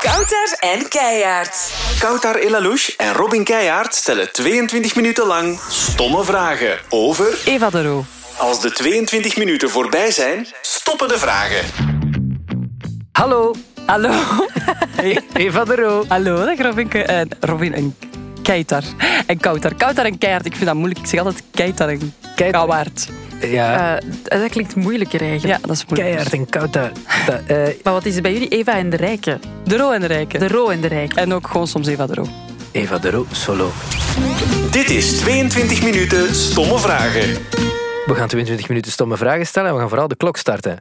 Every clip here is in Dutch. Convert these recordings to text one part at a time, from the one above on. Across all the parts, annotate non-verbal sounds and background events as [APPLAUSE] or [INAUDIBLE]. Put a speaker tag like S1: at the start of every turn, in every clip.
S1: Kouter en Keijaard.
S2: Koutar Elalouche en Robin Keijaard stellen 22 minuten lang stomme vragen over...
S3: Eva de Roo.
S2: Als de 22 minuten voorbij zijn, stoppen de vragen.
S3: Hallo. Hallo. Hey, [LAUGHS] Eva de Roo. Hallo, dag Robinke. En Robin en Keitar. En Kouter. Kouter en Keijaard. Ik vind dat moeilijk. Ik zeg altijd Keitar en
S4: Keitar.
S3: Kouwaard.
S4: Ja,
S5: Eh, dat klinkt moeilijker eigenlijk.
S3: Ja, dat is moeilijk.
S4: keihard en koud. daar. Da- eh,
S5: Maar wat is er bij jullie? Eva en de Rijken.
S3: De Roo en de Rijken.
S5: De Ro en de Rijken.
S3: En ook gewoon soms Eva de Roo.
S4: Eva de Roo, solo.
S2: Dit is 22 minuten stomme vragen.
S4: We gaan 22 minuten stomme vragen stellen en we gaan vooral de klok starten.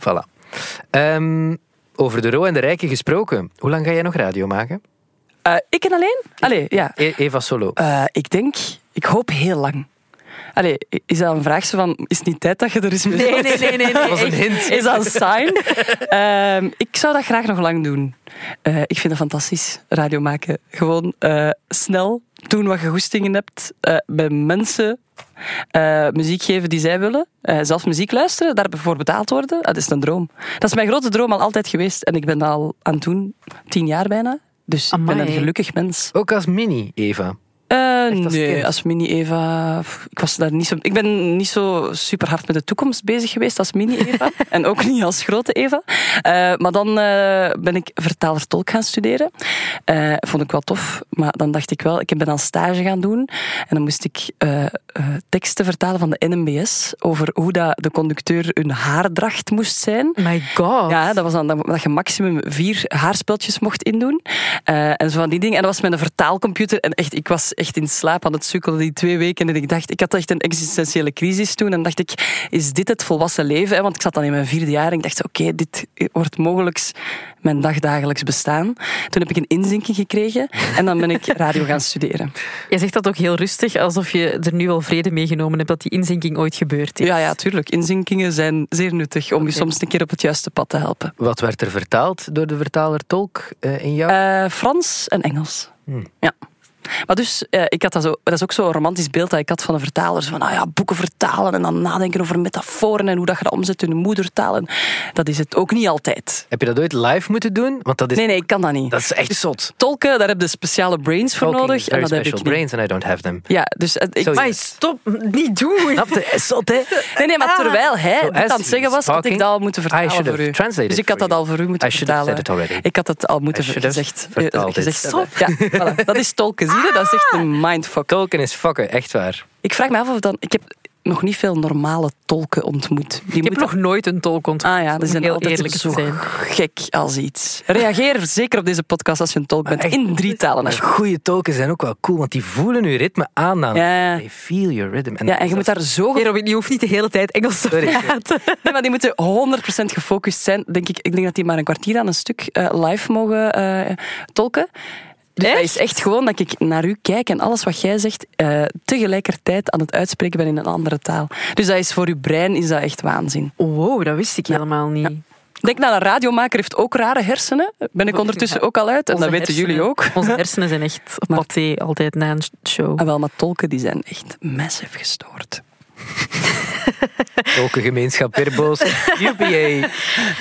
S4: Voilà. Ehm, over de Roo en de Rijken gesproken. Hoe lang ga jij nog radio maken?
S3: Eh, ik en alleen? Allee, ja.
S4: E- Eva solo.
S3: Eh, ik denk, ik hoop heel lang. Allee, is dat een vraag zo van, is het niet tijd dat je er eens mee
S5: Nee, nee, nee, nee. nee.
S4: Dat was een hint.
S3: Is dat een sign?
S4: [LAUGHS]
S3: Ehm, ik zou dat graag nog lang doen. Eh, ik vind dat fantastisch, radio maken. Gewoon eh, snel doen wat je goestingen hebt. eh, bij mensen eh, muziek geven die zij willen. Eh, zelf muziek luisteren, daarvoor betaald worden. Dat is een droom. Dat is mijn grote droom al altijd geweest. En ik ben dat al aan het doen, tien jaar bijna. Dus ik ben
S5: Amai.
S3: een gelukkig mens.
S4: Ook als mini, Eva.
S3: Eh,
S4: als
S3: nee,
S4: kind?
S3: als mini-Eva... pff, Ik, was daar niet zo, ik ben niet zo super hard met de toekomst bezig geweest als
S4: [LAUGHS]
S3: mini-Eva. en ook niet als grote Eva. Eh, maar dan eh, ben ik vertaler-tolk gaan studeren. Eh, vond ik wel tof. Maar dan dacht ik wel... Ik ben dan stage gaan doen. En dan moest ik eh, eh, teksten vertalen van de NMBS. Over hoe dat de conducteur hun haardracht moest zijn.
S4: Mhm.
S5: My god.
S3: Ja, dat was dan dat, dat je maximum vier haarspeltjes mocht indoen. Eh, en zo van die dingen. En dat was met een vertaalcomputer. En echt, ik was echt in slaap aan het sukkelen die twee weken. En ik dacht, ik had echt een existentiële crisis toen. En dacht ik, is dit het volwassen leven? hè? Want ik zat dan in mijn vierde jaar en ik dacht, oké, dit wordt mogelijk mijn dagdagelijks bestaan. Toen heb ik een inzinking gekregen. En dan ben [LAUGHS] ik radio gaan studeren.
S5: Jij zegt dat ook heel rustig, alsof je er nu al vrede meegenomen hebt dat die inzinking ooit gebeurd is.
S3: Ja, ja, tuurlijk. Inzinkingen zijn zeer nuttig om je
S5: Oké.
S3: soms een keer op het juiste pad te helpen.
S4: Wat werd er vertaald door de vertaler-tolk eh, in jou?
S3: Eh, Frans en Engels.
S4: Hmm.
S3: Ja. Maar dus, eh, ik had dat, zo, dat is ook zo'n romantisch beeld dat ik had van een vertaler. Zo van, nou ja, boeken vertalen en dan nadenken over metaforen en hoe dat je dat omzet in een moedertaal. En dat is het ook niet altijd.
S4: Heb je dat ooit live moeten doen? Want dat is,
S3: Nee, nee, ik kan dat niet.
S4: Dus dat is echt zot.
S3: Tolken, daar heb je speciale brains voor
S4: Talking
S3: nodig. En
S4: is very
S3: dat heb ik
S4: special
S3: niet.
S4: brains and I don't have them.
S3: Ja, dus eh, ik...
S4: Zo, ja.
S5: Maar stop, niet
S3: Nou,
S5: doen.
S4: Snap je? Zot,
S3: [LAUGHS]
S4: hè?
S3: Nee, nee, maar terwijl hij
S4: So
S3: dit
S4: Ah. as
S3: aan het zeggen was, had ik
S4: talking,
S3: dat al moeten
S4: I
S3: vertalen
S4: should
S3: voor
S4: have
S3: u.
S4: translated
S3: Dus ik had
S4: for
S3: dat
S4: you.
S3: al voor u moeten
S4: I should have
S3: vertalen.
S4: said it already.
S3: Ik had dat al moeten
S4: I should have
S3: gezegd. eh,
S4: vertaald Ah.
S3: gezegd
S4: dit.
S3: hebben. Ja, voilà. Dat is tolken, zie je? Dat is echt een mindfuck.
S4: Tolken is fucken, echt waar.
S3: Ik vraag me af of dan. Ik heb nog niet veel normale tolken ontmoet. Die
S5: Ik heb nog nooit een tolk ontmoet.
S3: Ah ja, die
S5: om
S3: zijn
S5: heel
S3: altijd
S5: eerlijk te
S3: zo
S5: zijn.
S3: gek als iets. Reageer zeker op deze podcast als je een tolk bent.
S4: echt,
S3: In drie talen.
S4: Maar
S3: alsjeblieft.
S4: goede tolken zijn ook wel cool, want die voelen uw ritme aan. aan.
S3: Ja.
S4: They feel your rhythm. En
S3: Ja, en je moet daar zo... ge-
S5: Hey, Robin, je hoeft niet de hele tijd Engels te
S4: Sorry.
S5: praten.
S3: Nee, maar die moeten 100% gefocust zijn. Denk ik, ik denk dat die maar een kwartier aan een stuk eh, live mogen eh, tolken. Dus dat is echt gewoon dat ik naar u kijk en alles wat jij zegt eh, tegelijkertijd aan het uitspreken ben in een andere taal. Dus dat is voor uw brein is dat echt waanzin.
S5: Wow, dat wist ik helemaal niet.
S3: Denk nou, een radiomaker heeft ook rare hersenen. Ben ik ondertussen ook al uit. En dat
S5: Onze
S3: weten jullie
S5: hersenen-
S3: ook. [LAUGHS]
S5: Onze hersenen zijn echt
S3: Maar-
S5: paté altijd na een show.
S3: Ah, wel, maar tolken die zijn echt massive gestoord.
S4: Tolkengemeenschap weer
S3: [LAUGHS]
S4: boos. UPA.
S3: Nee,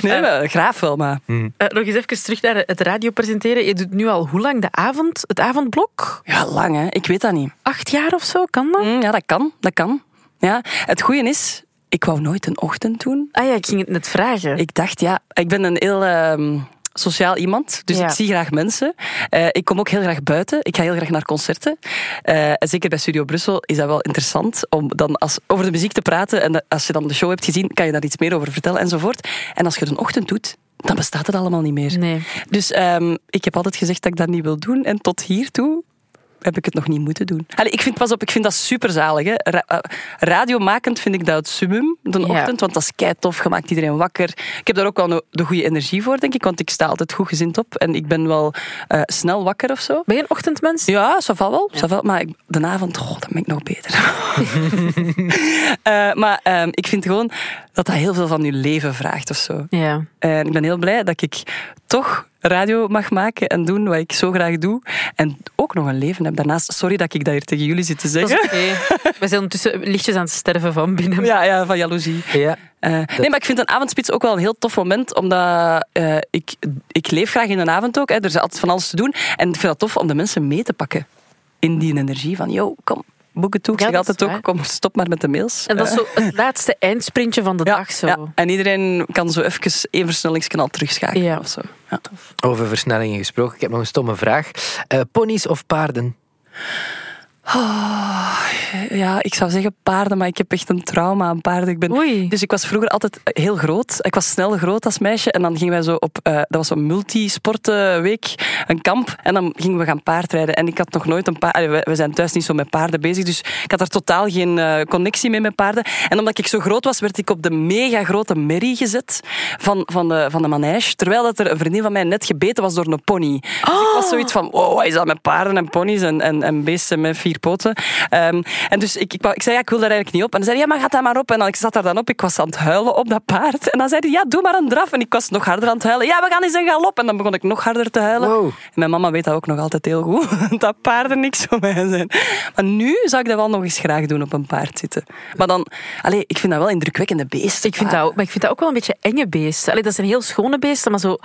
S3: maar, graaf wel, maar...
S5: Eh, nog eens even terug naar het radio presenteren. Je doet nu al hoe lang de avond, het avondblok?
S3: Ja, lang hè. Ik weet dat niet.
S5: Acht jaar of zo, kan dat?
S3: Mm, ja, dat kan. Dat kan. Ja. Het goede is, ik wou nooit een ochtend doen.
S5: Ah ja, ik ging het net vragen.
S3: Ik dacht, ja, ik ben een heel ehm, sociaal iemand. Dus
S5: Ja.
S3: ik zie graag mensen. Eh, ik kom ook heel graag buiten. Ik ga heel graag naar concerten. Eh, en zeker bij Studio Brussel is dat wel interessant om dan als, over de muziek te praten. En dat- als je dan de show hebt gezien, kan je daar iets meer over vertellen enzovoort. En als je het een ochtend doet, dan bestaat het allemaal niet meer.
S5: Nee.
S3: Dus ehm, ik heb altijd gezegd dat ik dat niet wil doen. En tot hiertoe heb ik het nog niet moeten doen. Allee, ik vind, pas op, ik vind dat superzalig. Hè. Ra- eh, radiomakend vind ik dat het summum, de
S5: Ja.
S3: ochtend. Want dat is kei tof, je maakt iedereen wakker. Ik heb daar ook wel no- de goede energie voor, denk ik. Want ik sta altijd goed gezind op. En ik ben wel eh, snel wakker of zo.
S5: Ben je een ochtendmens?
S3: Ja, ça va wel. ça va. Maar ik, de avond, oh, dan ben ik nog beter. [LAUGHS] Eh, maar ehm, ik vind gewoon dat dat heel veel van je leven vraagt of zo.
S5: Ja.
S3: En ik ben heel blij dat ik toch radio mag maken en doen wat ik zo graag doe. En ook nog een leven heb daarnaast. Sorry dat ik dat hier tegen jullie zit te [LAUGHS]
S5: Dat is
S3: zeggen.
S5: oké. We zijn ondertussen lichtjes aan het sterven van binnen.
S3: Ja, ja, van jaloezie.
S4: Ja.
S3: Eh, nee, maar ik vind een avondspits ook wel een heel tof moment, omdat eh, ik, ik leef graag in een avond ook. Hè, er is altijd van alles te doen. En ik vind dat tof om de mensen mee te pakken in die energie van, yo, kom, boek het toe. Ik
S5: Ja,
S3: zeg
S5: dat is
S3: altijd ook,
S5: waar.
S3: kom, stop maar met de mails.
S5: En dat is
S3: Eh,
S5: zo het laatste eindsprintje van de dag. Zo.
S3: ja. En iedereen kan zo even één versnellingskanaal terugschakelen
S5: Ja.
S3: of zo. Ja.
S4: Over versnellingen gesproken, ik heb nog een stomme vraag. Eh, ponies of paarden?
S3: Ja, ik zou zeggen paarden, maar ik heb echt een trauma aan paarden. Ik ben,
S5: Oei.
S3: Dus ik was vroeger altijd heel groot. Ik was snel groot als meisje. En dan gingen wij zo op, eh, dat was een multisportenweek, een kamp. En dan gingen we gaan paardrijden. En ik had nog nooit een paard... We, zijn thuis niet zo met paarden bezig, dus ik had daar totaal geen eh, connectie mee met paarden. En omdat ik zo groot was, werd ik op de mega grote merrie gezet van, van, de, van de manege. Terwijl dat er een vriendin van mij net gebeten was door een pony. Dus ik
S5: Oh.
S3: was zoiets van, wow, wat is dat met paarden en ponies en, en, en beesten met vier poten? Ehm, en dus ik, ik, wou- ik zei, ja, ik wil daar eigenlijk niet op. En hij zei, ja, maar ga daar maar op. En dan, ik zat daar dan op, ik was aan het huilen op dat paard. En dan zei hij, ja, doe maar een draf. En ik was nog harder aan het huilen. Ja, we gaan eens een galop. En dan begon ik nog harder te huilen.
S4: Wow.
S3: En mijn mama weet dat ook nog altijd heel goed, [LAUGHS] dat paarden niks voor mij zijn. Maar nu zou ik dat wel nog eens graag doen, op een paard zitten. Maar dan, allee, ik vind dat wel indrukwekkende beesten.
S5: Ik vind dat ook, maar ik vind dat ook wel een beetje enge beesten. Allee, dat zijn heel schone beesten, maar zo,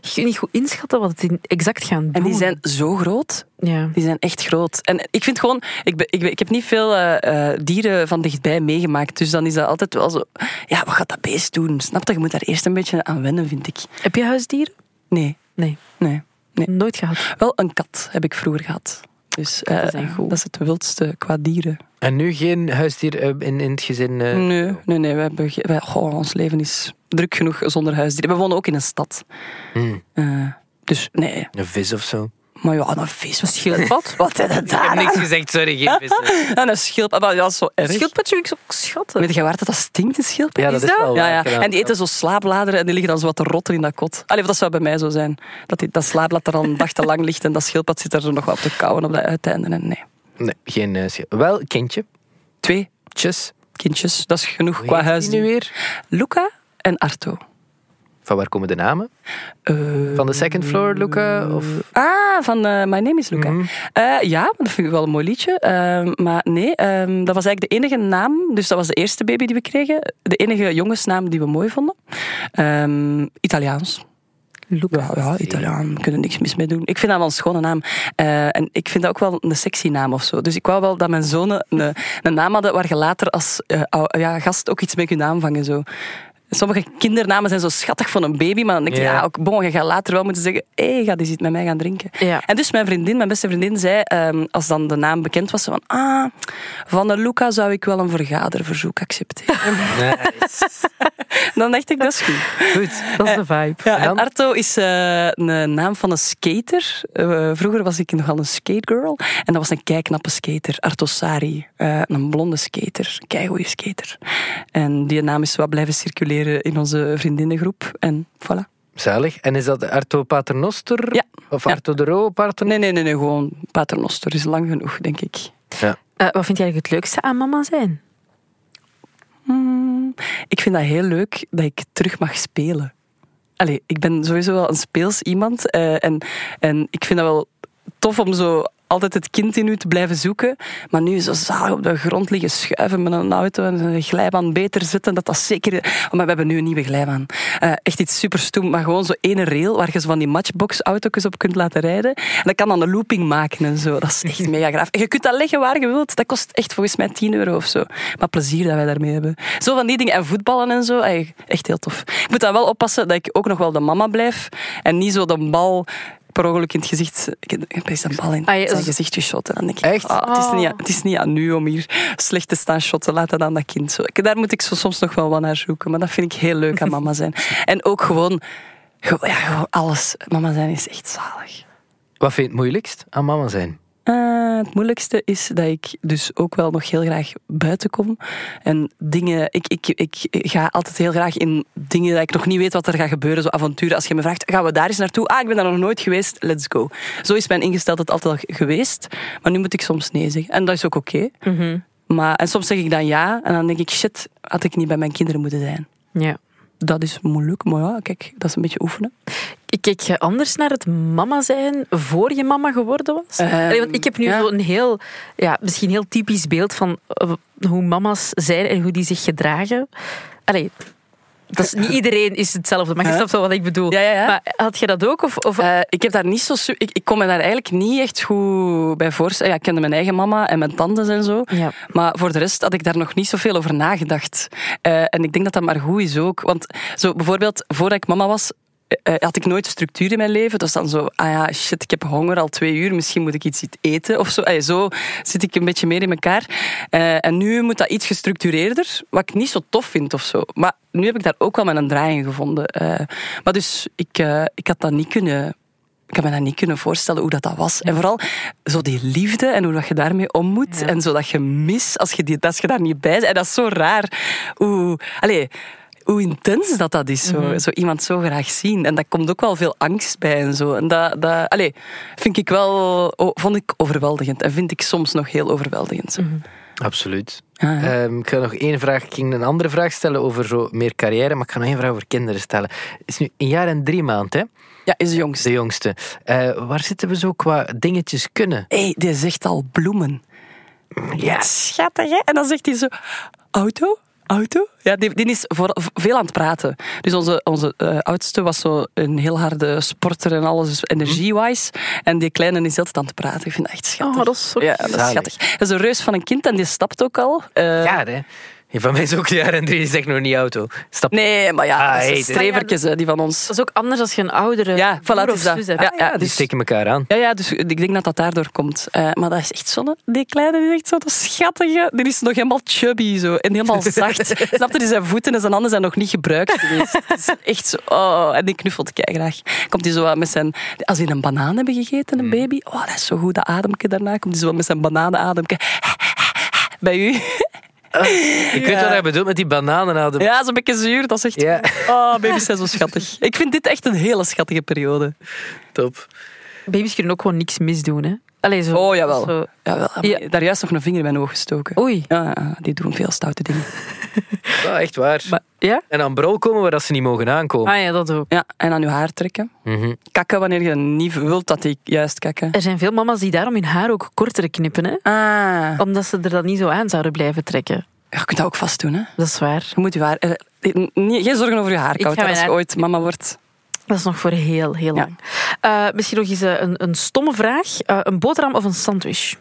S5: je kunt niet goed inschatten wat het in- exact gaan doen.
S3: En die zijn zo groot.
S5: Ja.
S3: Die zijn echt groot. En ik vind gewoon, ik, ben, ik, ben- ik heb niet veel eh, eh, dieren van dichtbij meegemaakt. Dus dan is dat altijd wel zo. Ja, wat gaat dat beest doen? Snap dat? Je moet daar eerst een beetje aan wennen, vind ik.
S5: Heb je huisdieren?
S3: Nee,
S5: Nee,
S3: nee, nee.
S5: nooit gehad.
S3: Wel een kat heb ik vroeger gehad. Dus eh,
S5: Katten zijn goed.
S3: dat is het wildste qua dieren.
S4: En nu geen huisdier eh, in, in het gezin? eh?
S3: Nee, nee, nee. Wij hebben, ge- wij, goh, ons leven is druk genoeg zonder huisdieren. We wonen ook in een stad.
S4: Hmm.
S3: Eh, dus nee.
S4: Een vis of zo?
S3: Maar ja, een vis. Een schildpad? Wat is dat daar?
S4: gezegd, sorry, [LAUGHS] geen vissen.
S3: En een schildpad. Maar dat is zo erg.
S5: Schildpadje vind ik zo schattig.
S3: Weet je waar dat, dat stinkt, een schildpad?
S4: Ja, dat is wel
S3: Ja,
S4: waar,
S3: ja.
S4: inderdaad.
S3: En die eten zo slaapbladeren en die liggen dan zo wat te rotten in dat kot. Allee, dat zou bij mij zo zijn. Dat die, dat slaapblad er al een dag te lang ligt en dat schildpad zit er zo nog wat op te kauwen op dat uiteinde. En nee.
S4: Nee, geen eh, schil- Wel, kindje.
S3: Twee
S4: Tjus.
S3: kindjes, dat is genoeg
S4: Hoe
S3: qua
S4: heet die
S3: huis.
S4: nu weer?
S3: Luca en Arto.
S4: Van waar komen de namen?
S3: Eh,
S4: Van de second floor, Luca? Of...
S3: ah, van eh, My Name is Luca. Eh, ja, dat vind ik wel een mooi liedje. Ehm, maar nee, ehm, dat was eigenlijk de enige naam. Dus dat was de eerste baby die we kregen. De enige jongensnaam die we mooi vonden. Ehm, Italiaans. Ja, ja, Italiaan, we kunnen niks mis mee doen. Ik vind dat wel een schone naam. Eh, en ik vind dat ook wel een sexy naam of zo. Dus ik wou wel dat mijn zonen een, een naam hadden waar je later als eh, ou- ja, gast ook iets mee kunt aanvangen. Zo. Sommige kindernamen zijn zo schattig van een baby, maar dan denk je,
S4: Ja.
S3: ja, ook, bon, je gaat later wel moeten zeggen, hé, hey, ga eens iets met mij gaan drinken.
S5: Ja.
S3: En dus mijn vriendin, mijn beste vriendin, zei, ehm, als dan de naam bekend was, zo van, ah, van de Luca zou ik wel een vergaderverzoek accepteren.
S4: Nice.
S3: dan dacht ik, dat is goed. Eh,
S4: Goed.
S5: Dat is de vibe.
S3: Ja,
S4: En
S3: en
S4: dan?
S3: Arto is eh, een naam van een skater. Eh, vroeger was ik nogal een skategirl. En dat was een keiknappe skater. Arto Sari. Eh, een blonde skater. Keigoeie skater. En die naam is wat blijven circuleren in onze vriendinnengroep. En voilà.
S4: Zalig. En is dat Arto Paternoster?
S3: Ja.
S4: Of
S3: Ja.
S4: Arto de Roo Paternoster?
S3: Nee, nee, nee, nee gewoon paternoster is lang genoeg, denk ik.
S5: Eh, wat vind jij eigenlijk het leukste aan mama zijn?
S3: Hmm, ik vind dat heel leuk dat ik terug mag spelen. Allee, ik ben sowieso wel een speels iemand. eh, en, en ik vind dat wel tof om zo altijd het kind in u te blijven zoeken. Maar nu zo zalig op de grond liggen schuiven met een auto en een glijbaan beter zetten. Dat dat zeker... Oh, maar we hebben nu een nieuwe glijbaan. Eh, echt iets super stoem, maar gewoon zo ene rail waar je zo van die matchbox-auto's op kunt laten rijden. En dat kan dan een looping maken en zo. Dat is echt mega graaf. En je kunt dat leggen waar je wilt. Dat kost echt volgens mij 10 euro of zo. Maar plezier dat wij daarmee hebben. Zo van die dingen. En voetballen en zo. Ey, Echt heel tof. Ik moet dan wel oppassen dat ik ook nog wel de mama blijf. En niet zo de bal per ongeluk in het gezicht. Ik heb- ik heb eens een bal in
S5: Ah, je-
S3: zijn gezicht geschoten. Dan denk ik,
S4: Echt?
S3: ah, het, is niet, aan- het is niet aan nu om hier slecht te staan shotten. Laat dat aan dat kind. Zo. Ik- Daar moet ik zo soms nog wel wat naar zoeken. Maar dat vind ik heel leuk aan mama zijn. En ook gewoon, gewoon, ja, gewoon alles. Mama zijn is echt zalig.
S4: Wat vind je het moeilijkst aan mama zijn?
S3: Eh, het moeilijkste is dat ik dus ook wel nog heel graag buiten kom. En dingen, ik, ik, ik ga altijd heel graag in dingen dat ik nog niet weet wat er gaat gebeuren. Zo avonturen. Als je me vraagt, gaan we daar eens naartoe? Ah, ik ben daar nog nooit geweest, let's go. Zo is mijn ingesteldheid altijd al geweest. Maar nu moet ik soms nee zeggen. En dat is ook oké. Maar, en soms zeg ik dan ja. En dan denk ik, shit, had ik niet bij mijn kinderen moeten zijn.
S5: Ja.
S3: Dat is moeilijk, maar ja, kijk, dat is een beetje oefenen.
S5: Ik keek je anders naar het mama zijn voor je mama geworden was?
S3: Ehm,
S5: Allee, want ik heb nu
S3: ja.
S5: zo'n heel, ja, misschien heel typisch beeld van eh, hoe mama's zijn en hoe die zich gedragen. Allee, Dat is, niet iedereen is hetzelfde, maar je snapt wel wat ik bedoel.
S3: Ja, ja, ja.
S5: Maar had je dat ook? Of, of
S3: Eh, ik heb daar niet zo... su- Ik, ik kon me daar eigenlijk niet echt goed bij voorstellen. Ja, ik kende mijn eigen mama en mijn tantes en zo.
S5: Ja.
S3: Maar voor de rest had ik daar nog niet zoveel over nagedacht. Eh, en ik denk dat dat maar goed is ook. Want zo bijvoorbeeld, voordat ik mama was... eh, eh, had ik nooit structuur in mijn leven. Het was dan zo, ah ja, shit, ik heb honger al twee uur. Misschien moet ik iets eten of zo. Allee, zo zit ik een beetje meer in elkaar. Eh, en nu moet dat iets gestructureerder, wat ik niet zo tof vind of zo. Maar nu heb ik daar ook wel mijn draai in gevonden. Eh, maar dus, ik, eh, ik had dat niet kunnen ik kan me dat niet kunnen voorstellen hoe dat, dat was. En vooral zo die liefde en hoe dat je daarmee om moet. En zo dat je mis als je, die, als je daar niet bij bent. En dat is zo raar. Hoe, allez, hoe intens dat dat is. Zo, zo iemand zo graag zien. En daar komt ook wel veel angst bij en zo. En dat, dat allez, vind ik wel, oh, vond ik overweldigend. En vind ik soms nog heel overweldigend. Zo.
S4: Absoluut.
S3: Ja, ja.
S4: Ehm, ik ga nog één vraag, ik ging een andere vraag stellen over zo meer carrière, maar ik ga nog één vraag over kinderen stellen. Het is nu een jaar en drie maanden, hè?
S3: Ja, is de jongste.
S4: De jongste. Eh, waar zitten we zo qua dingetjes kunnen?
S3: Hé, hey, die zegt al bloemen.
S4: Ja.
S3: schattig, hè? En dan zegt hij zo, auto? Auto? Ja, die, die is voor, veel aan het praten. Dus onze, onze eh, oudste was zo een heel harde sporter en alles, dus energie-wise. En die kleine is altijd aan het praten. Ik vind dat echt schattig.
S5: Oh, dat is zo
S3: Ja, dat is
S4: zalig.
S3: schattig. Dat is een reus van een kind en die stapt ook al. Eh,
S4: Jaar, hè? Ja, Van mij is ook een jaar en drie, is echt nog niet auto. Stap.
S3: Nee, maar ja,
S4: Ah,
S3: dat zijn
S4: hey, dit-
S3: strevertjes, hè, die van ons.
S5: dat is ook anders als je een oudere
S3: Ja, voilà,
S5: broer
S3: het
S5: of
S3: is dat.
S5: zus
S3: Ja,
S5: hebt. Ah,
S3: ja,
S4: Die
S3: dus,
S4: steken elkaar aan.
S3: ja, ja, dus ik denk dat dat daardoor komt. Eh, maar dat is echt zo'n... Die kleine die is echt zo'n schattige... Die is nog helemaal chubby zo, en helemaal zacht. Snap je? Die zijn voeten en zijn handen zijn nog niet gebruikt geweest. Het is echt zo... Oh, en die knuffelt graag. Komt hij zo wat met zijn... Als die een banaan hebben gegeten, een baby... Oh, dat is zo goed, dat ademke daarna. Komt hij zo wat met zijn bananenademke... Bij u?
S4: Je kunt wat hij bedoelt met die bananenadem.
S3: Ja, zo'n beetje zuur. Dat is echt...
S4: Ja.
S3: Oh, baby's zijn zo schattig. Ik vind dit echt een hele schattige periode.
S4: Top.
S5: Baby's kunnen ook gewoon niks misdoen. Hè? Allee, zo,
S3: Oh, jawel.
S5: Zo.
S3: jawel
S5: Ja.
S3: Daar juist nog een vinger in mijn oog gestoken.
S5: Oei.
S3: Ja, ja, die doen veel stoute dingen.
S4: Ah, echt waar.
S5: Maar, ja?
S4: En aan brol komen waar dat ze niet mogen
S3: Oh.
S4: aankomen.
S5: Ah ja, dat ook.
S3: Ja, en aan je haar trekken.
S4: Mhm.
S3: Kakken wanneer je niet wilt dat die juist kakken.
S5: Er zijn veel mama's die daarom hun haar ook korter knippen. Hè?
S3: Ah.
S5: Omdat ze er dan niet zo aan zouden blijven trekken.
S3: Ja, je kunt dat ook vast doen, hè.
S5: Dat is waar.
S3: Je moet je haar... eh, eh, nee, geen zorgen over je haar,
S5: Ik
S3: koud,
S5: ga
S3: hè, als
S5: mijn
S3: je
S5: haar-
S3: ooit mama wordt.
S5: Dat is nog voor heel, heel
S3: Ja.
S5: lang. Eh, misschien nog eens eh, een, een stomme vraag. Eh, een boterham of een sandwich?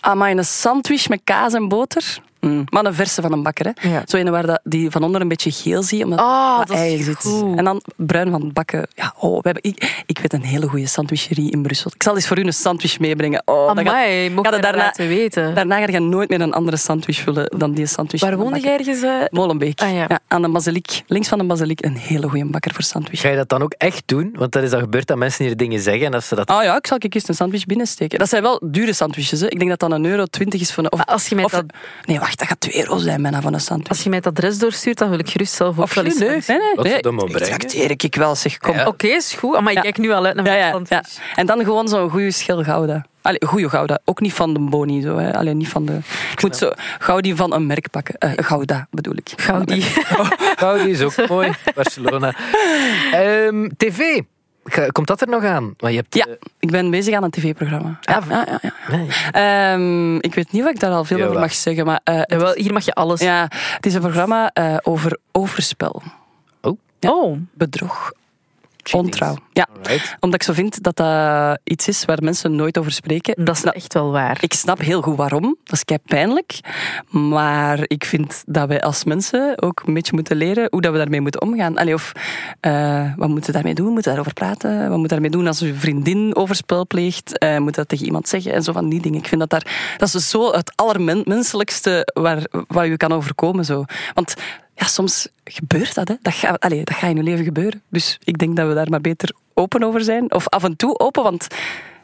S3: Ah, maar in een sandwich met kaas en boter... Mm, Maar een verse van een bakker, hè.
S5: Ja.
S3: Zo een waar dat, die van onder een beetje geel zie, omdat
S5: Ah,
S3: wat
S5: dat is
S3: ei
S5: goed.
S3: En dan bruin van het bakken. Ja, oh, we hebben, ik, ik weet een hele goede sandwicherie in Brussel. Ik zal eens voor u een sandwich meebrengen. Oh, dat gaat-
S5: Amai, mocht
S3: ga dat
S5: je daarna
S3: daarna-
S5: laten weten.
S3: Daarna ga je nooit meer een andere sandwich willen dan die sandwich.
S5: Waar
S3: van de
S5: woonde
S3: bakker.
S5: jij ergens? eh?
S3: Molenbeek.
S5: Ah, ja.
S3: Ja, aan de Basiliek. Links van de Basiliek een hele goede bakker voor sandwich.
S4: Ga je dat dan ook echt doen? Want dat is dan gebeurd dat mensen hier dingen zeggen en als ze dat...
S3: Ah ja, ik zal ik eerst een sandwich binnensteken. Dat zijn wel dure sandwiches. Hè. Ik denk dat dat een euro twintig is voor een... Of,
S5: Maar als je met
S3: of-
S5: dat-
S3: Nee, wacht, dat gaat 2 euro zijn bijna van een sandwich.
S5: Als je mij het adres doorstuurt, dan wil ik gerust zelf ook
S3: Of
S5: wel eens
S3: nee,
S5: langs.
S3: nee, nee.
S4: Wat ze
S3: nee.
S4: dan maar
S3: Ik
S4: brengen.
S3: trakteer ik, ik wel, zeg, kom.
S4: Ja.
S3: Ook-
S5: Oké, is goed. Ah, Maar ik
S3: Ja.
S5: kijk nu al uit naar
S3: Ja,
S5: mijn
S3: ja, ja.
S5: sandwich.
S3: En dan gewoon zo'n goede schil gouda. Allee, goede gouda. Ook niet van de Boni. Zo, hè. Allee, niet van de... Ik moet zo goudie van een merk pakken. Eh, gouda bedoel ik.
S5: Gaudi.
S4: Oh, die is
S3: [LAUGHS]
S4: ook mooi. Barcelona. Ehm, TV. Ga- Komt dat er nog aan? Want je hebt...
S3: Ja,
S4: eh,
S3: ik ben bezig aan een tv-programma.
S5: Ah,
S3: Ja, ja, ja, ja.
S4: nee.
S3: Ehm, ik weet niet wat ik daar al veel
S4: Jawel.
S3: over mag zeggen, maar eh, het,
S5: Jawel, hier mag je alles.
S3: ja, het is een programma eh, over overspel,
S4: Oh,
S5: Oh,
S3: bedrog,
S4: cheating.
S3: ontrouw. Ja,
S4: Alright.
S3: omdat ik zo vind dat dat iets is waar mensen nooit over spreken.
S5: dat is
S3: Nou,
S5: echt wel waar.
S3: ik snap heel goed waarom. Dat is kei pijnlijk. Maar ik vind dat wij als mensen ook een beetje moeten leren hoe dat we daarmee moeten omgaan. Allee, of eh, wat moeten we daarmee doen? Moeten we daarover praten? Wat moeten we daarmee doen als een vriendin overspel pleegt? Eh moet dat tegen iemand zeggen? En zo van die dingen. Ik vind dat daar, dat is dus zo het allermenselijkste waar, waar je kan overkomen. Zo. Want ja, soms gebeurt dat. Hè? Dat, ga, allee, dat gaat in je leven gebeuren. Dus ik denk dat we daar maar beter open over zijn. Of af en toe open, want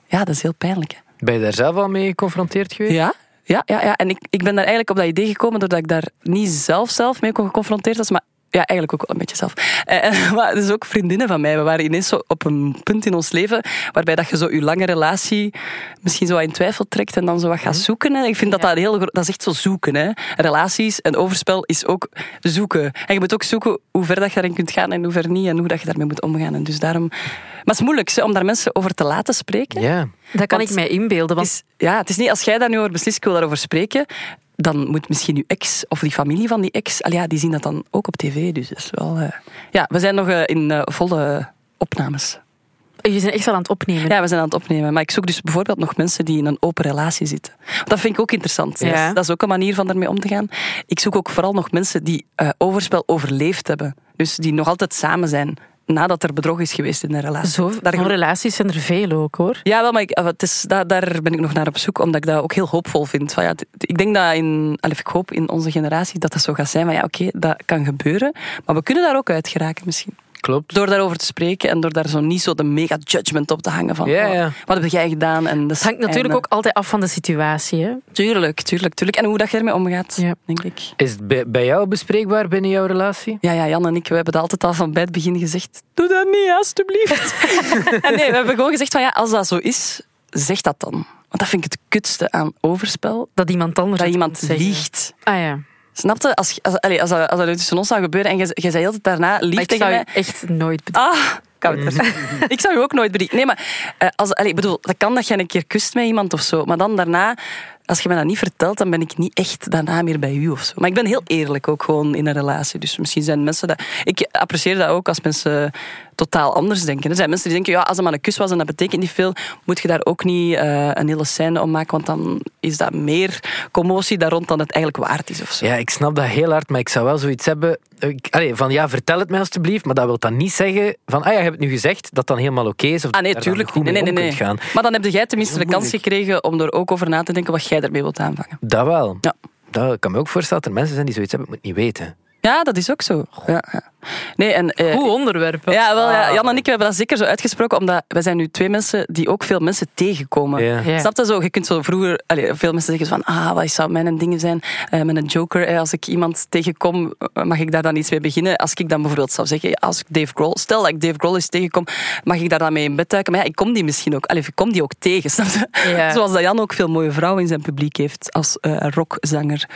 S3: ja, dat is heel pijnlijk. Hè?
S4: Ben je daar zelf al mee geconfronteerd geweest?
S3: Ja, ja, ja. ja. En ik, ik ben daar eigenlijk op dat idee gekomen doordat ik daar niet zelf zelf mee kon geconfronteerd was, maar ja, eigenlijk ook wel een beetje zelf. Eh, [LAUGHS] maar dus ook vriendinnen van mij. We waren ineens zo op een punt in ons leven waarbij dat je zo je lange relatie misschien zo wat in twijfel trekt en dan zo wat gaat zoeken. En ik vind dat dat heel... gro- Dat is echt zo zoeken, hè. Relaties en overspel is ook zoeken. En je moet ook zoeken hoe ver dat je daarin kunt gaan en hoe ver niet en hoe dat je daarmee moet omgaan. En dus daarom... Maar het is moeilijk, hè, om daar mensen over te laten spreken.
S4: Ja.
S5: Dat kan
S3: Want-
S5: ik mij inbeelden.
S3: Het
S5: Want
S3: is, ja, het is niet als jij daar nu over beslist, ik wil daarover spreken. dan moet misschien uw ex of die familie van die ex, al ja, die zien dat dan ook op tv. Dus dat is wel. eh, Ja, we zijn nog eh, in eh, volle opnames.
S5: Jullie zijn echt wel aan het opnemen.
S3: Ja, we zijn aan het opnemen. Maar ik zoek dus bijvoorbeeld nog mensen die in een open relatie zitten. Want Dat vind ik ook interessant.
S5: Ja.
S3: Dat is- Dat is ook een manier van ermee om te gaan. Ik zoek ook vooral nog mensen die eh, overspel overleefd hebben. Dus die nog altijd samen zijn nadat er bedrog is geweest in een relatie.
S5: Zo,
S3: Daar-
S5: van relaties zijn er veel ook, hoor.
S3: ja, wel, maar ik, eh, het is, daar, daar ben ik nog naar op zoek, omdat ik dat ook heel hoopvol vind. Van, ja, het- ik denk dat in, allee, ik hoop in onze generatie dat dat zo gaat zijn. Maar ja, oké, dat kan gebeuren. Maar we kunnen daar ook uit geraken misschien.
S4: Klopt.
S3: Door daarover te spreken en door daar zo niet zo de mega judgment op te hangen van
S4: Ja,
S3: oh,
S4: ja.
S3: wat heb jij gedaan? En dat
S5: Het hangt natuurlijk ook altijd af van de situatie. Hè?
S3: Tuurlijk, tuurlijk, tuurlijk. En hoe dat je ermee omgaat,
S5: Ja.
S3: denk ik.
S4: Is het bij, bij jou bespreekbaar binnen jouw relatie?
S3: Ja, ja, Jan en ik, we hebben dat altijd al van bij het begin gezegd. Doe dat niet, [LAUGHS] alstublieft. en nee, we hebben gewoon gezegd van ja, als dat zo is, zeg dat dan. Want dat vind ik het kutste aan overspel.
S5: Dat iemand anders
S3: Dat
S5: het
S3: iemand
S5: komt zeggen.
S3: liegt.
S5: Ah ja.
S3: Snap je? Als, als, allee, als, dat- als dat tussen ons zou gebeuren en jij jij zei altijd daarna
S5: Maar
S3: lief
S5: ik
S3: tegen
S5: zou je
S3: mij...
S5: echt nooit bedenken.
S3: Ah, kouder. ik zou je ook nooit bedriegen. Nee, maar eh, als, allee, ik bedoel, dat kan dat je een keer kust met iemand of zo. Maar dan daarna, als je me dat niet vertelt, dan ben ik niet echt daarna meer bij u of zo. Maar ik ben heel eerlijk ook gewoon in een relatie. Dus misschien zijn mensen dat. Ik apprecieer dat ook als mensen totaal anders denken. Er zijn mensen die denken, ja, als het maar een kus was en dat betekent niet veel, moet je daar ook niet eh, een hele scène om maken, want dan is dat meer commotie daar rond dan het eigenlijk waard is of zo.
S4: Ja, ik snap dat heel hard, maar ik zou wel zoiets hebben. ik- allee, van ja, vertel het mij alstublieft, maar dat wil dan niet zeggen van ah ja, je hebt het nu gezegd dat dan helemaal oké is. Of
S3: Ah nee,
S4: dat je daar dan
S3: tuurlijk
S4: goed
S3: niet. Nee,
S4: mee
S3: nee, nee,
S4: om
S3: nee.
S4: kunt gaan.
S3: Maar dan heb jij tenminste de
S4: Heel
S3: kans
S4: moeilijk.
S3: gekregen om er ook over na te denken wat jij ermee wilt aanvangen.
S4: Dat wel.
S3: Ja.
S4: Dat kan me ook voorstellen dat er mensen zijn die zoiets hebben, ik moet het niet weten.
S3: Ja, dat is ook zo. Ja, ja. Nee, en, eh,
S5: Hoe onderwerpen.
S3: ja, wel, ja, Jan en ik we hebben dat zeker zo uitgesproken, omdat wij zijn nu twee mensen die ook veel mensen tegenkomen.
S4: Ja.
S5: Ja.
S3: Snap je zo? Je kunt zo vroeger... allee, veel mensen zeggen van, ah, wat zou mijn dingen zijn? Eh, met een joker, eh, als ik iemand tegenkom, eh, mag ik daar dan iets mee beginnen? Als ik dan bijvoorbeeld zou zeggen, als ik Dave Grohl... Stel dat ik Dave Grohl eens tegenkom, mag ik daar dan mee in bed duiken? Maar ja, ik kom die misschien ook... Allee, ik kom die ook tegen, [LAUGHS] snap je?
S5: Ja.
S3: Zoals dat Jan ook veel mooie vrouwen in zijn publiek heeft als eh, rockzanger.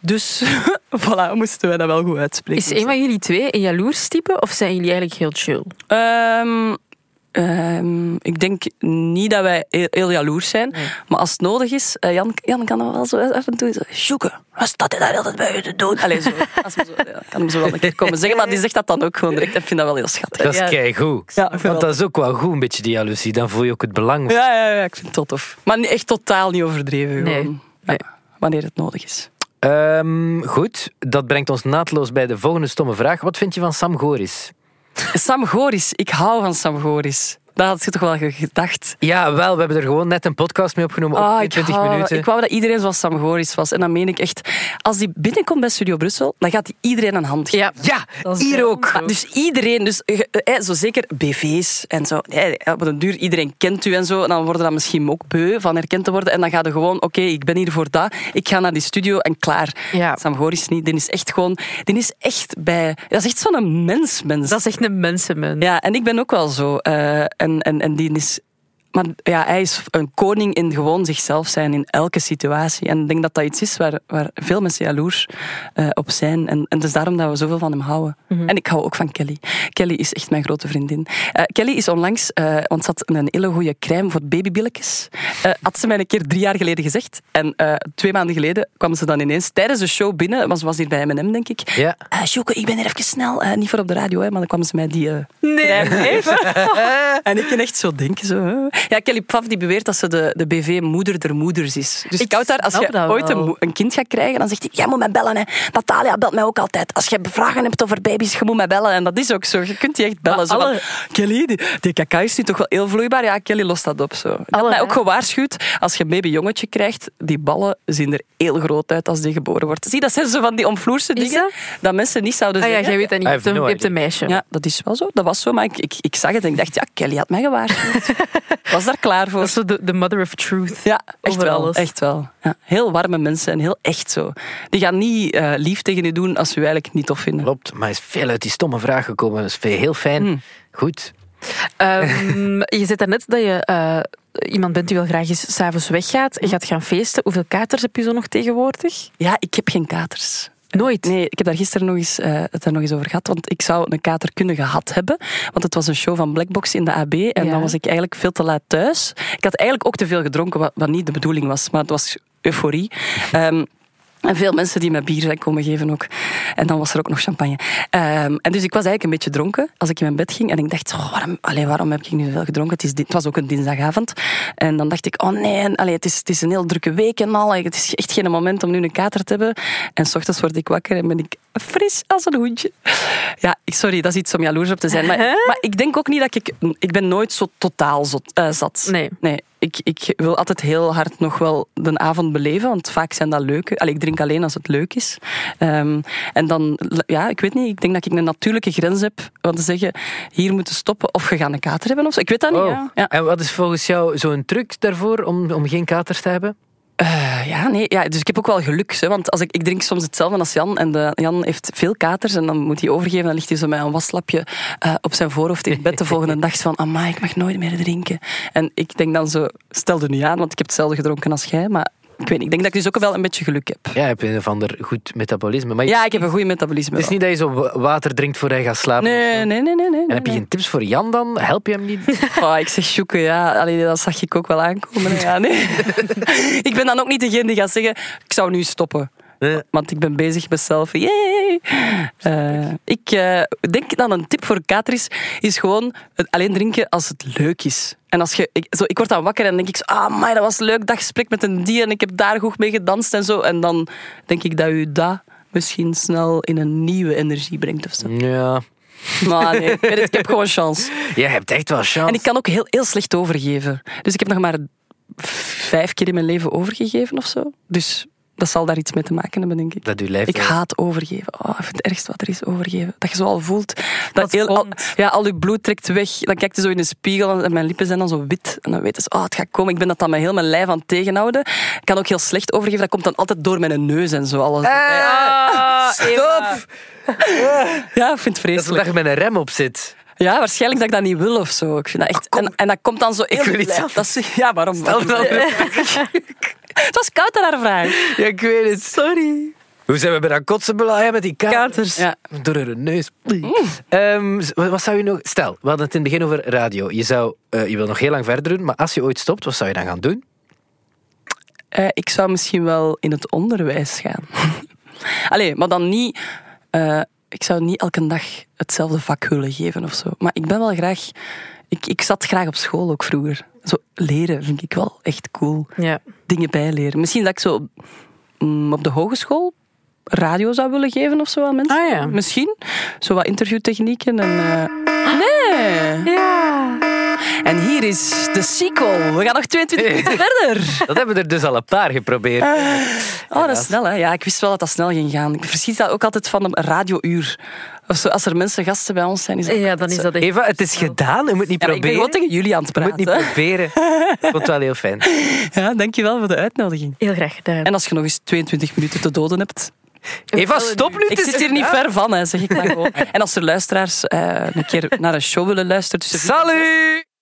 S3: Dus, [LAUGHS] voilà, moesten wij dat wel goed uitspreken.
S5: Is een van jullie twee een jaloers type of zijn jullie eigenlijk heel chill?
S3: Ehm, ehm, ik denk niet dat wij heel, heel jaloers zijn. Maar als het nodig is, eh, Jan, Jan kan dan wel zo af en toe zo, zoeken. Wat staat hij daar altijd bij je te doen? Allee, zo. Als hem zo ja, kan hem zo wel een keer komen zeggen. Maar die zegt dat dan ook gewoon direct. Ik vind dat wel heel schattig.
S4: Dat is
S5: Ja.
S4: keigoed.
S3: Ja,
S4: Want
S3: wel.
S4: dat is ook wel goed, een beetje die jaloezie. Dan voel je ook het belang.
S3: Ja, ja, ja, ik vind het wel tof. Maar niet- echt totaal niet overdreven.
S5: Nee.
S3: Gewoon.
S5: Nee.
S3: Ja, wanneer het nodig is.
S4: Ehm, goed, dat brengt ons naadloos bij de volgende stomme vraag. Wat vind je van Sam Goris?
S3: Sam Goris. Ik hou van Sam Goris. Dat had je toch wel gedacht.
S4: Ja, wel, we hebben er gewoon net een podcast mee opgenomen.
S3: Ah,
S4: op
S3: ik
S4: 20
S3: hou-
S4: minuten.
S3: Ik wou dat iedereen zoals Sam Goris was. En dan meen ik echt, als die binnenkomt bij Studio Brussel, dan gaat hij iedereen een hand geven.
S5: Ja.
S4: Ja,
S5: Dat is
S4: hier
S5: wel
S4: ook.
S3: Maar dus iedereen, dus, eh, eh, zo zeker BV's en zo. Eh, Op een duur, iedereen kent u en zo. En dan worden dat misschien ook beu van herkend te worden. En dan ga je gewoon, oké, ik ben hier voor dat. Ik ga naar die studio en klaar.
S5: Ja.
S3: Sam Goris niet. Die is echt gewoon, die is echt bij... Dat is echt zo'n mens, mens.
S5: Dat is echt een mensenmens.
S3: Ja, en ik ben ook wel zo. eh, en, en, en die is. Maar ja, hij is een koning in gewoon zichzelf zijn in elke situatie. En ik denk dat dat iets is waar, waar veel mensen jaloers eh, op zijn. En, en dus daarom dat we zoveel van hem houden. En ik hou ook van Kelly. Kelly is echt mijn grote vriendin. Eh, Kelly is onlangs, eh, want ze had een hele goede crème voor babybilletjes. Eh, had ze mij een keer drie jaar geleden gezegd. En eh, twee maanden geleden kwam ze dan ineens tijdens de show binnen. Want ze was hier bij M&M, denk ik.
S4: Ja.
S3: Eh, Sjoeke, ik ben er even snel. Eh, niet voor op de radio, hè, maar dan kwamen ze mij die... eh,
S5: [LAUGHS] Nee. [LAUGHS]
S3: en ik kan echt zo denken. Zo. hè. Ja, Kelly Pfaff die beweert dat ze de, de BV-moeder der moeders is. Dus
S5: Ik
S3: ik houd daar, als
S5: snap
S3: je
S5: dat
S3: ooit
S5: wel.
S3: een, mo- een kind gaat krijgen, dan zegt hij, jij moet mij bellen. Hè. Natalia belt mij ook altijd. Als je vragen hebt over baby's, je moet mij bellen. En dat is ook zo. Je kunt die echt bellen. Zo van,
S5: alle-
S3: Kelly, die, die cacao is nu toch wel heel vloeibaar? Ja, Kelly lost dat op. Zo. Ik had
S5: Alle-
S3: mij ook gewaarschuwd, als je een babyjongetje krijgt, die ballen zien er heel groot uit als die geboren wordt. Zie, dat zijn zo van die omvloerse
S5: Is
S3: dingen
S5: dat?
S3: dat mensen niet zouden
S5: Ah ja,
S3: zeggen.
S5: jij weet dat niet.
S4: I
S5: Je
S4: have
S5: hebt een,
S4: no
S5: je hebt
S4: idea.
S5: een meisje.
S3: Ja, dat is wel zo. Dat was zo, maar ik, ik, ik zag het en ik dacht, ja, Kelly had mij
S5: [LAUGHS]
S3: gewaarschuwd. was daar klaar voor.
S5: Dat is zo de, de mother of truth.
S3: Ja, echt
S5: over
S3: wel.
S5: alles.
S3: Echt wel. Ja, heel warme mensen en heel echt zo. Die gaan niet eh, lief tegen je doen als ze je eigenlijk niet tof vinden.
S4: Klopt, maar is veel uit die stomme vraag gekomen. Dat is veel- heel fijn.
S3: Hmm.
S4: Goed.
S5: Ehm, je zei net dat je eh, iemand bent die wel graag eens s'avonds weggaat en gaat gaan feesten. Hoeveel katers heb je zo nog tegenwoordig?
S3: Ja, ik heb geen katers.
S5: Nooit.
S3: Nee, ik heb daar gisteren nog eens, eh, het daar nog eens over gehad. Want ik zou een kater kunnen gehad hebben. Want het was een show van Blackbox in de AB. En
S5: Ja.
S3: dan was ik eigenlijk veel te laat thuis. Ik had eigenlijk ook te veel gedronken, wat, wat niet de bedoeling was. Maar het was euforie. Ehm, En veel mensen die mij bier zijn komen geven ook. En dan was er ook nog champagne. Ehm, en dus ik was eigenlijk een beetje dronken als ik in mijn bed ging. En ik dacht, oh, waarom, allee, waarom heb ik nu veel gedronken? Het, is, di- het was ook een dinsdagavond. En dan dacht ik, oh nee, en, allee, het, is, het is een heel drukke week en al. Het is echt geen moment om nu een kater te hebben. En s ochtends word ik wakker en ben ik fris als een hoentje. Ja, ik- sorry, dat is iets om jaloers op te zijn. Maar, maar ik denk ook niet dat ik... Ik ben nooit zo totaal zot, eh, zat.
S5: Nee.
S3: Nee, ik, ik wil altijd heel hard nog wel de avond beleven, want vaak zijn dat leuke... Allee, ik drink alleen als het leuk is. Ehm, en dan, ja, ik weet niet, ik denk dat ik een natuurlijke grens heb om te zeggen, hier moeten stoppen of je gaat een kater hebben of zo. Ik weet dat niet,
S4: Oh.
S3: ja. Ja.
S4: En wat is volgens jou zo'n truc daarvoor om, om geen katers te hebben?
S3: Eh, ja, nee, ja, dus ik heb ook wel geluk, hè, want als ik, ik drink soms hetzelfde als Jan, en de, Jan heeft veel katers en dan moet hij overgeven, dan ligt hij zo met een waslapje eh, op zijn voorhoofd in
S4: [LAUGHS]
S3: bed de volgende dag, zo van, amai, ik mag nooit meer drinken. En ik denk dan zo, stel er nu aan, want ik heb hetzelfde gedronken als jij, maar ik weet niet, ik denk dat ik dus ook wel een beetje geluk heb.
S4: Ja, je hebt een of ander goed metabolisme. Maar je-
S3: Ja, ik heb een goed metabolisme.
S4: het is
S3: wel.
S4: niet dat je zo wa- water drinkt voor hij gaat slapen. of zo.
S3: Nee, nee, nee, nee. nee,
S4: En heb je
S3: nee.
S4: geen tips voor Jan dan? Help je hem
S3: [LAUGHS]
S4: niet?
S3: Oh, ik zeg zoeken, ja. Allee, dat zag ik ook wel aankomen. hè. Ja, nee. ik ben dan ook niet degene die gaat zeggen, ik zou nu stoppen.
S4: Nee.
S3: Want ik ben bezig met zelf. Yay! Eh, ik eh, denk dat een tip voor Katris is gewoon het alleen drinken als het leuk is. En als je, ik, zo, ik word dan wakker en denk ik, zo, ah, maar dat was leuk, dat gesprek met een dier en ik heb daar goed mee gedanst en zo. En dan denk ik dat u dat misschien snel in een nieuwe energie brengt of zo.
S4: Ja.
S3: Maar nee, ik weet het, ik heb gewoon chance.
S4: Jij hebt echt wel chance.
S3: En ik kan ook heel, heel slecht overgeven. Dus ik heb nog maar vijf keer in mijn leven overgegeven of zo. Dus dat zal daar iets mee te maken hebben, denk ik.
S4: Dat uw lijf...
S3: Ik haat overgeven. Oh, ik vind het ergste wat er is, overgeven. Dat je zo al voelt. Dat
S5: Dat
S3: heel, al,
S5: komt.
S3: ja, al je bloed trekt weg. Dan kijkt je zo in de spiegel en- en mijn lippen zijn dan zo wit. En dan weten ze, oh, het gaat komen. Ik ben dat dan met heel mijn lijf aan het tegenhouden. Ik kan ook heel slecht overgeven. Dat komt dan altijd door mijn neus en zo. Alles.
S5: Eh. Stop!
S3: Ja, ik vind het
S4: Dat is
S3: vreselijk.
S4: omdat je met een rem op zit.
S3: Ja, waarschijnlijk dat ik dat niet wil of zo. Ik vind dat echt, en, en dat komt dan zo Ah, heel...
S4: wil iets
S3: blij-
S4: af-
S3: dat is, ja, waarom? waarom-
S4: een andere
S3: [LAUGHS] het was koud aan haar vraag.
S4: Ja, ik weet het. Sorry. Hoe zijn we bij dat kotsen beland? Ja, met die katers.
S3: Katers. Ja.
S4: Door hun neus. Ehm, z- wat wat zou je nog... Stel, we hadden het in het begin over radio. Je, zou, eh, je wil nog heel lang verder doen, maar als je ooit stopt, wat zou je dan gaan
S3: [LAUGHS]
S4: doen?
S3: Eh, ik zou misschien wel in het onderwijs gaan. [LAUGHS] Allee, maar dan niet... eh, ik zou niet elke dag hetzelfde vak willen geven of zo. Maar ik ben wel graag... Ik, ik zat graag op school ook vroeger. Zo leren vind ik wel echt cool.
S5: Ja.
S3: Dingen bijleren. Misschien dat ik zo mm, op de hogeschool radio zou willen geven of zo aan mensen.
S5: Ah, ja.
S3: Misschien. Zo wat interviewtechnieken en... eh, Nee!
S5: Ja.
S3: En hier is de sequel. We gaan nog
S5: [LAUGHS]
S3: 22 minuten verder.
S4: Dat hebben we er dus al een paar geprobeerd.
S3: Oh, dat is snel, hè? Ja, ik wist wel dat dat snel ging gaan. Ik verschiet dat ook altijd van een radiouur. Of zo, als er mensen gasten bij ons zijn, is dat...
S5: ja, dan is dat echt...
S4: Eva, het is gedaan. Je moet niet
S3: Ja, maar ik ben
S4: proberen.
S3: gewoon tegen jullie aan het
S4: je moet niet
S3: praten. hè.
S4: proberen. Ik vond het wel heel fijn.
S3: [LAUGHS] Ja, dankjewel voor de uitnodiging.
S5: Heel graag gedaan.
S3: En als je nog eens 22 minuten te doden hebt...
S4: Eva, stop nu.
S3: Ik
S4: het is
S3: zit hier niet
S4: gedaan.
S3: ver van, hè, zeg ik maar gewoon. En als er luisteraars eh, een keer naar een show willen luisteren... tussen vier en
S4: Salut!